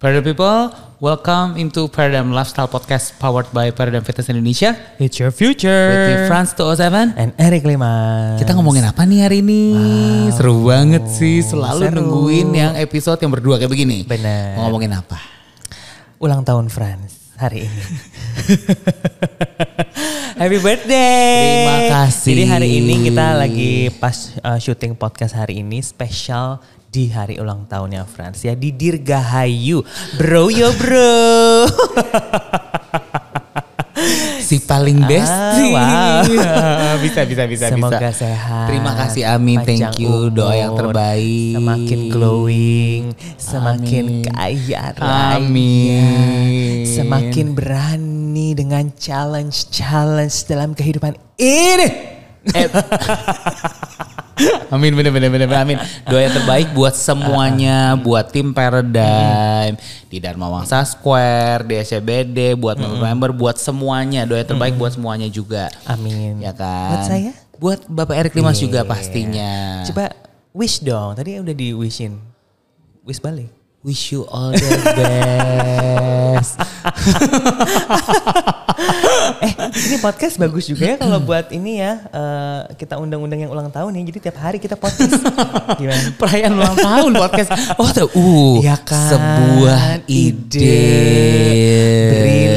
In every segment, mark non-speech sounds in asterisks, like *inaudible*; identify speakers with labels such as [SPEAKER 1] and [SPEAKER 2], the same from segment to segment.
[SPEAKER 1] Paradigm people, welcome into Paradigm Lifestyle Podcast powered by Paradigm Fitness Indonesia
[SPEAKER 2] It's your future.
[SPEAKER 1] with me Franz 207.
[SPEAKER 2] and Eric Lima.
[SPEAKER 1] Kita ngomongin apa nih hari ini? Seru banget sih, selalu
[SPEAKER 2] seru.
[SPEAKER 1] nungguin yang episode yang berdua kayak begini.
[SPEAKER 2] Bener.
[SPEAKER 1] Mau Ngomongin apa?
[SPEAKER 2] ulang tahun Franz hari ini. *laughs* Happy birthday.
[SPEAKER 1] Terima kasih.
[SPEAKER 2] Jadi hari ini kita lagi pas uh, syuting podcast hari ini spesial di hari ulang tahunnya Franz ya di Dirgahayu. Bro yo bro. *laughs*
[SPEAKER 1] Si paling best. sih. *laughs*
[SPEAKER 2] Ah, wow.
[SPEAKER 1] bisa bisa bisa
[SPEAKER 2] Semoga
[SPEAKER 1] bisa.
[SPEAKER 2] sehat.
[SPEAKER 1] Terima kasih amin,
[SPEAKER 2] Panjang
[SPEAKER 1] thank you doa yang
[SPEAKER 2] umur,
[SPEAKER 1] terbaik.
[SPEAKER 2] Semakin glowing, semakin
[SPEAKER 1] Amin.
[SPEAKER 2] kaya raya.
[SPEAKER 1] Amin.
[SPEAKER 2] Semakin berani dengan challenge-challenge dalam kehidupan ini.
[SPEAKER 1] Amin bener bener bener bener, amin. Doa yang terbaik buat semuanya, buat tim Paradigm, di Dharma Wangsa Square, di SCBD, buat member-member, buat semuanya. Doa yang terbaik buat semuanya juga.
[SPEAKER 2] Amin.
[SPEAKER 1] Ya kan?
[SPEAKER 2] Buat saya? Iya.
[SPEAKER 1] Buat Bapak Erik Limas juga pastinya.
[SPEAKER 2] Coba wish dong. Tadi udah di wishin. Wish balik.
[SPEAKER 1] Wish you all
[SPEAKER 2] *laughs*
[SPEAKER 1] the best.
[SPEAKER 2] eh, ini podcast bagus juga ya kalau buat ini ya. eh, kita undang-undang yang ulang tahun ya. Jadi tiap hari kita podcast.
[SPEAKER 1] *laughs*
[SPEAKER 2] Gimana?
[SPEAKER 1] Perayaan ulang tahun podcast. Oh, tuh. Uh,
[SPEAKER 2] Iya kan?
[SPEAKER 1] sebuah ide.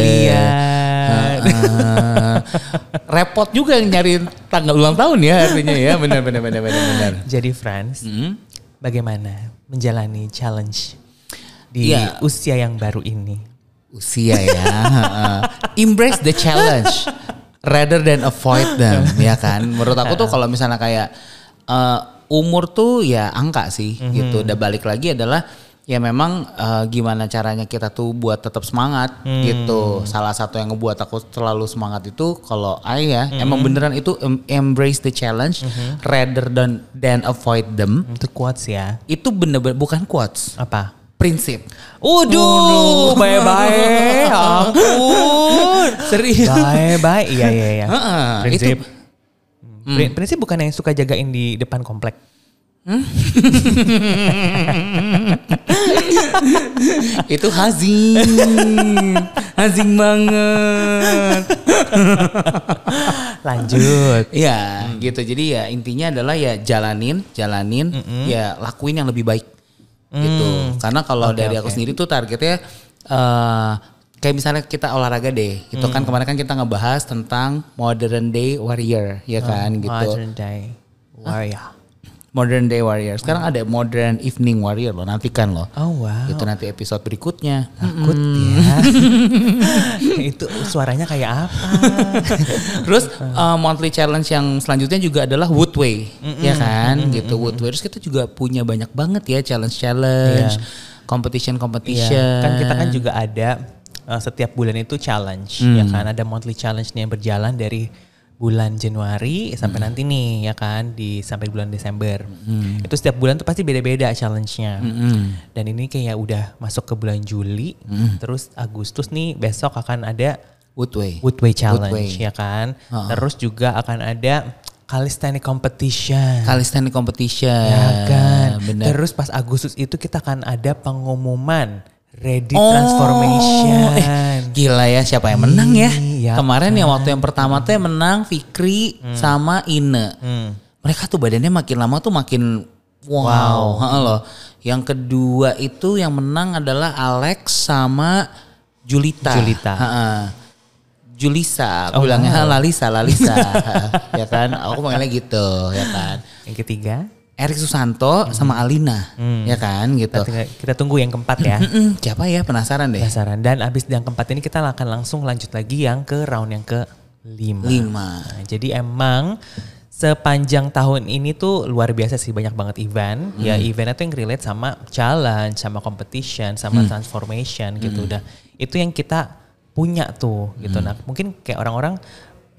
[SPEAKER 2] Brilian.
[SPEAKER 1] Heeh. Repot juga nyari tanggal ulang tahun ya artinya ya. Benar benar benar benar benar.
[SPEAKER 2] Jadi Franz,
[SPEAKER 1] Hmm?
[SPEAKER 2] bagaimana menjalani challenge di
[SPEAKER 1] Iya.
[SPEAKER 2] usia yang baru ini?
[SPEAKER 1] usia ya. Heeh. Embrace the challenge rather than avoid them, ya kan? Menurut aku tuh kalau misalnya kayak eh, umur tuh ya angka sih gitu. Dan balik lagi adalah ya memang eh, gimana caranya kita tuh buat tetap semangat gitu. Salah satu yang ngebuat aku terlalu semangat itu kalau ayah emang beneran itu em- embrace the challenge rather than than avoid them.
[SPEAKER 2] Itu quotes ya.
[SPEAKER 1] Itu bener-bener bukan quotes, *laughs*
[SPEAKER 2] Apa?
[SPEAKER 1] prinsip.
[SPEAKER 2] Waduh,
[SPEAKER 1] *laughs*
[SPEAKER 2] bye-bye. Ampun.
[SPEAKER 1] Serius.
[SPEAKER 2] Bye-bye. Iya, iya, iya.
[SPEAKER 1] Heeh,
[SPEAKER 2] Prinsip.
[SPEAKER 1] itu- Hmm.
[SPEAKER 2] Pri- Prinsip bukan yang suka jagain di depan komplek.
[SPEAKER 1] itu hazing hazing banget
[SPEAKER 2] Lanjut.
[SPEAKER 1] ya gitu jadi ya intinya adalah ya jalanin jalanin ya lakuin yang lebih baik gitu
[SPEAKER 2] Mm.
[SPEAKER 1] karena kalau dari aku sendiri tuh targetnya eh kayak misalnya kita olahraga deh gitu
[SPEAKER 2] Mm.
[SPEAKER 1] kan kemarin kan kita ngebahas tentang modern day warrior
[SPEAKER 2] Ah.
[SPEAKER 1] ya kan gitu
[SPEAKER 2] Modern day warrior.
[SPEAKER 1] modern day warrior sekarang ada modern evening warrior loh nantikan loh
[SPEAKER 2] Oh wow.
[SPEAKER 1] itu nanti episode berikutnya
[SPEAKER 2] Takut ya. *laughs* Itu suaranya kayak apa?
[SPEAKER 1] Terus
[SPEAKER 2] Ah.
[SPEAKER 1] uh, monthly challenge yang selanjutnya juga adalah Woodway, ya kan? gitu Woodway. Terus kita juga punya banyak banget ya challenge challenge,
[SPEAKER 2] Iya.
[SPEAKER 1] competition competition.
[SPEAKER 2] Kan kita kan juga ada uh, setiap bulan itu challenge ya kan ada monthly challenge nih yang berjalan dari bulan Januari sampai nanti nih ya kan di sampai bulan Desember. Itu setiap bulan tuh pasti beda-beda challenge-nya. Dan ini kayak udah masuk ke bulan Juli, terus Agustus nih besok akan ada
[SPEAKER 1] Woodway.
[SPEAKER 2] Woodway challenge
[SPEAKER 1] Woodway.
[SPEAKER 2] ya kan. Terus juga akan ada calisthenics competition.
[SPEAKER 1] Calisthenics competition.
[SPEAKER 2] Ya kan.
[SPEAKER 1] Bener.
[SPEAKER 2] Terus pas Agustus itu kita akan ada pengumuman Ready
[SPEAKER 1] Oh, eh,
[SPEAKER 2] Transformation.
[SPEAKER 1] gila ya siapa yang menang ya?
[SPEAKER 2] Iya Hmm.
[SPEAKER 1] Kemarin yang waktu yang pertama tuh yang menang Fikri sama Ine. Mereka tuh badannya makin lama tuh makin wow, heeh loh. Yang kedua itu yang menang adalah Alex sama Julita.
[SPEAKER 2] Julita. Oh,
[SPEAKER 1] Heeh. Julisa, aku bilangnya "Ah, Lalisa,
[SPEAKER 2] *laughs*
[SPEAKER 1] Lalisa. ya kan? Aku panggilnya gitu, ya kan.
[SPEAKER 2] Yang ketiga,
[SPEAKER 1] Erik
[SPEAKER 2] Hmm.
[SPEAKER 1] Susanto sama Alina, ya kan gitu.
[SPEAKER 2] tinggal- kita tunggu yang keempat ya.
[SPEAKER 1] Mm-mm, siapa ya penasaran deh.
[SPEAKER 2] Penasaran. Dan abis yang keempat ini kita akan langsung lanjut lagi yang ke round yang ke lima.
[SPEAKER 1] Lima.
[SPEAKER 2] Nah, jadi emang sepanjang tahun ini tuh luar biasa sih banyak banget event. Ya eventnya tuh yang relate sama challenge, sama competition, sama transformation gitu. Udah itu yang kita punya tuh gitu. Nah mungkin kayak orang-orang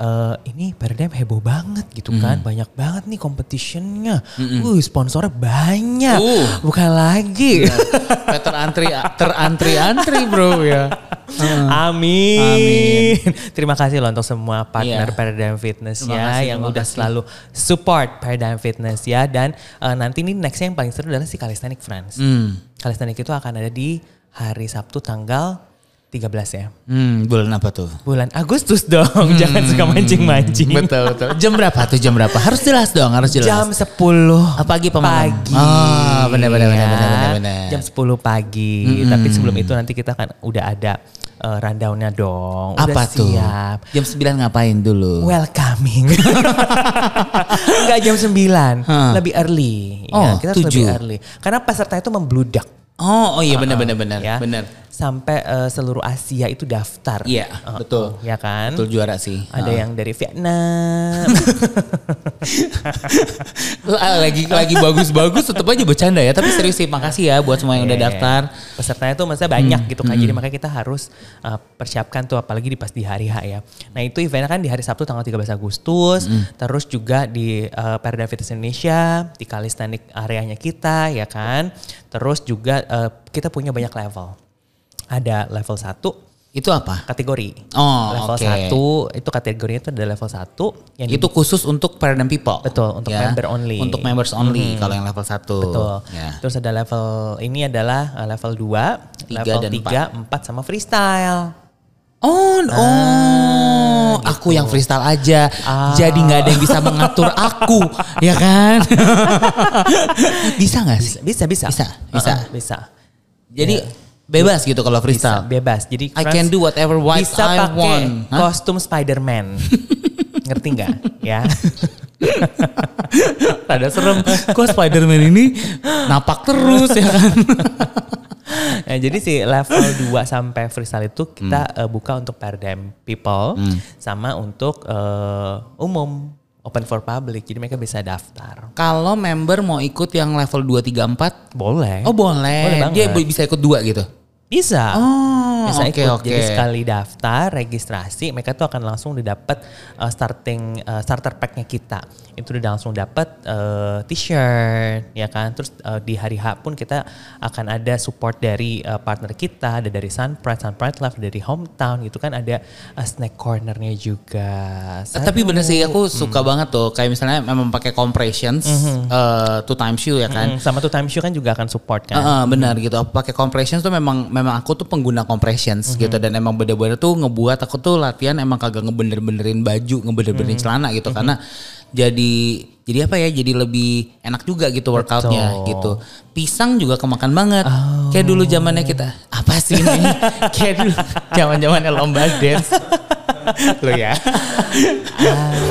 [SPEAKER 2] eh, ini Paradigm heboh banget gitu kan. Banyak banget nih competitionnya. Uh sponsornya banyak.
[SPEAKER 1] Uh.
[SPEAKER 2] Bukan lagi.
[SPEAKER 1] Kayak Eh, terantri terantri antri bro ya.
[SPEAKER 2] Ah. Amin.
[SPEAKER 1] Amin.
[SPEAKER 2] Terima kasih loh untuk semua partner
[SPEAKER 1] Iya.
[SPEAKER 2] Paradigm Fitness
[SPEAKER 1] Terima
[SPEAKER 2] ya
[SPEAKER 1] kasih,
[SPEAKER 2] yang
[SPEAKER 1] terima
[SPEAKER 2] udah
[SPEAKER 1] kasih.
[SPEAKER 2] selalu support Paradigm Fitness ya dan eh, nanti ini nextnya yang paling seru adalah si Calisthenics Friends.
[SPEAKER 1] Hmm.
[SPEAKER 2] Calisthenics itu akan ada di hari Sabtu tanggal 13 ya.
[SPEAKER 1] Hmm, bulan apa tuh?
[SPEAKER 2] Bulan Agustus dong, *laughs* jangan suka mancing-mancing.
[SPEAKER 1] Hmm. Betul, betul. Jam berapa tuh? Jam berapa? Harus jelas dong, harus jelas.
[SPEAKER 2] Jam 10
[SPEAKER 1] Ah, pagi apa malam?
[SPEAKER 2] pagi.
[SPEAKER 1] Ah, benar, benar, benar, benar, benar, benar. Hmm.
[SPEAKER 2] Jam 10 pagi. Tapi sebelum itu nanti kita kan udah ada eh, rundown-nya dong.
[SPEAKER 1] apa
[SPEAKER 2] udah
[SPEAKER 1] tuh?
[SPEAKER 2] siap.
[SPEAKER 1] Jam 9 ngapain dulu?
[SPEAKER 2] Welcoming. *laughs* Enggak jam 9,
[SPEAKER 1] Hah.
[SPEAKER 2] lebih early. Ya,
[SPEAKER 1] Oh,
[SPEAKER 2] kita harus lebih
[SPEAKER 1] tujuh.
[SPEAKER 2] early. Karena peserta itu membludak.
[SPEAKER 1] Oh, oh iya benar benar benar.
[SPEAKER 2] ya.
[SPEAKER 1] Benar.
[SPEAKER 2] Sampai eh, seluruh Asia itu daftar.
[SPEAKER 1] Iya,
[SPEAKER 2] Uh-uh,
[SPEAKER 1] betul.
[SPEAKER 2] Ya kan?
[SPEAKER 1] Betul juara sih.
[SPEAKER 2] Ada yang dari Vietnam.
[SPEAKER 1] Ah, lagi lagi bagus-bagus tetap aja bercanda ya, tapi serius sih makasih ya buat semua yang udah
[SPEAKER 2] Iya.
[SPEAKER 1] daftar.
[SPEAKER 2] Pesertanya tuh maksudnya banyak
[SPEAKER 1] Hmm.
[SPEAKER 2] gitu kan. Jadi makanya kita harus uh, persiapkan tuh apalagi di pas di hari H ya. Nah itu eventnya kan di hari Sabtu tanggal 13 Agustus.
[SPEAKER 1] Hmm.
[SPEAKER 2] Terus juga di uh, Perda Fitness Indonesia. Di Calisthenic areanya kita ya kan. Terus juga uh, kita punya banyak level. Ada level 1
[SPEAKER 1] Itu apa?
[SPEAKER 2] kategori.
[SPEAKER 1] Oh,
[SPEAKER 2] level
[SPEAKER 1] oke.
[SPEAKER 2] 1 itu kategorinya itu ada level 1 yang
[SPEAKER 1] Itu khusus untuk Paradigm People. Ya.
[SPEAKER 2] Betul, untuk member only. Hmm.
[SPEAKER 1] Untuk members only kalau yang level 1.
[SPEAKER 2] Betul.
[SPEAKER 1] Ya.
[SPEAKER 2] Terus ada level ini adalah uh, level 2,
[SPEAKER 1] Tiga
[SPEAKER 2] level
[SPEAKER 1] dan
[SPEAKER 2] 3, 4 sama freestyle.
[SPEAKER 1] Oh, oh, aku yang freestyle aja. Jadi nggak ada yang bisa mengatur aku, ya kan? *laughs* bisa nggak sih?
[SPEAKER 2] Bisa bisa.
[SPEAKER 1] Bisa, bisa.
[SPEAKER 2] Uh-uh, bisa.
[SPEAKER 1] Jadi bebas gitu kalau
[SPEAKER 2] Bisa,
[SPEAKER 1] freestyle.
[SPEAKER 2] bebas. Jadi
[SPEAKER 1] I can do whatever what
[SPEAKER 2] bisa
[SPEAKER 1] I
[SPEAKER 2] pakai
[SPEAKER 1] want. Hah?
[SPEAKER 2] kostum
[SPEAKER 1] *laughs*
[SPEAKER 2] Spider-Man. Ngerti nggak? ya.
[SPEAKER 1] Ada serem. *laughs* Kok Spider-Man ini napak terus ya kan?
[SPEAKER 2] Nah, jadi si level 2 sampai freestyle itu kita
[SPEAKER 1] Hmm.
[SPEAKER 2] eh, buka untuk paradigm people sama untuk eh, umum open for public. Jadi mereka bisa daftar.
[SPEAKER 1] *laughs* Kalau member mau ikut yang level 2 3 4
[SPEAKER 2] Boleh.
[SPEAKER 1] Oh boleh,
[SPEAKER 2] Boleh
[SPEAKER 1] dia
[SPEAKER 2] banget.
[SPEAKER 1] bisa ikut dua gitu.
[SPEAKER 2] Bisa.
[SPEAKER 1] Oh,
[SPEAKER 2] bisa
[SPEAKER 1] oke,
[SPEAKER 2] ikut.
[SPEAKER 1] oke.
[SPEAKER 2] Jadi sekali daftar, registrasi, mereka tuh akan langsung didapat uh, starting uh, starter pack-nya kita. Itu udah langsung dapat uh, t-shirt, ya kan. Terus uh, di hari H pun kita akan ada support dari uh, partner kita, ada dari Sun Pride, Sun Pride Love, dari hometown gitu kan ada uh, snack corner-nya juga. Sa-
[SPEAKER 1] Tapi bener sih aku suka banget tuh kayak misalnya memang pakai compressions eh, two time shoe ya kan.
[SPEAKER 2] Mm, sama tuh time show kan juga akan support kan.
[SPEAKER 1] Heeh, benar gitu. Aku pakai compressions tuh memang memang aku tuh pengguna compressions gitu dan emang bener-bener tuh ngebuat aku tuh latihan emang kagak ngebener-benerin baju, ngebener-benerin celana gitu karena jadi jadi apa ya? Jadi lebih enak juga gitu workoutnya
[SPEAKER 2] Betul.
[SPEAKER 1] gitu. Pisang juga kemakan banget. Kayak dulu zamannya kita apa sih ini? *laughs* Kayak dulu zaman-zamannya lomba dance. Lo ya.
[SPEAKER 2] Ah,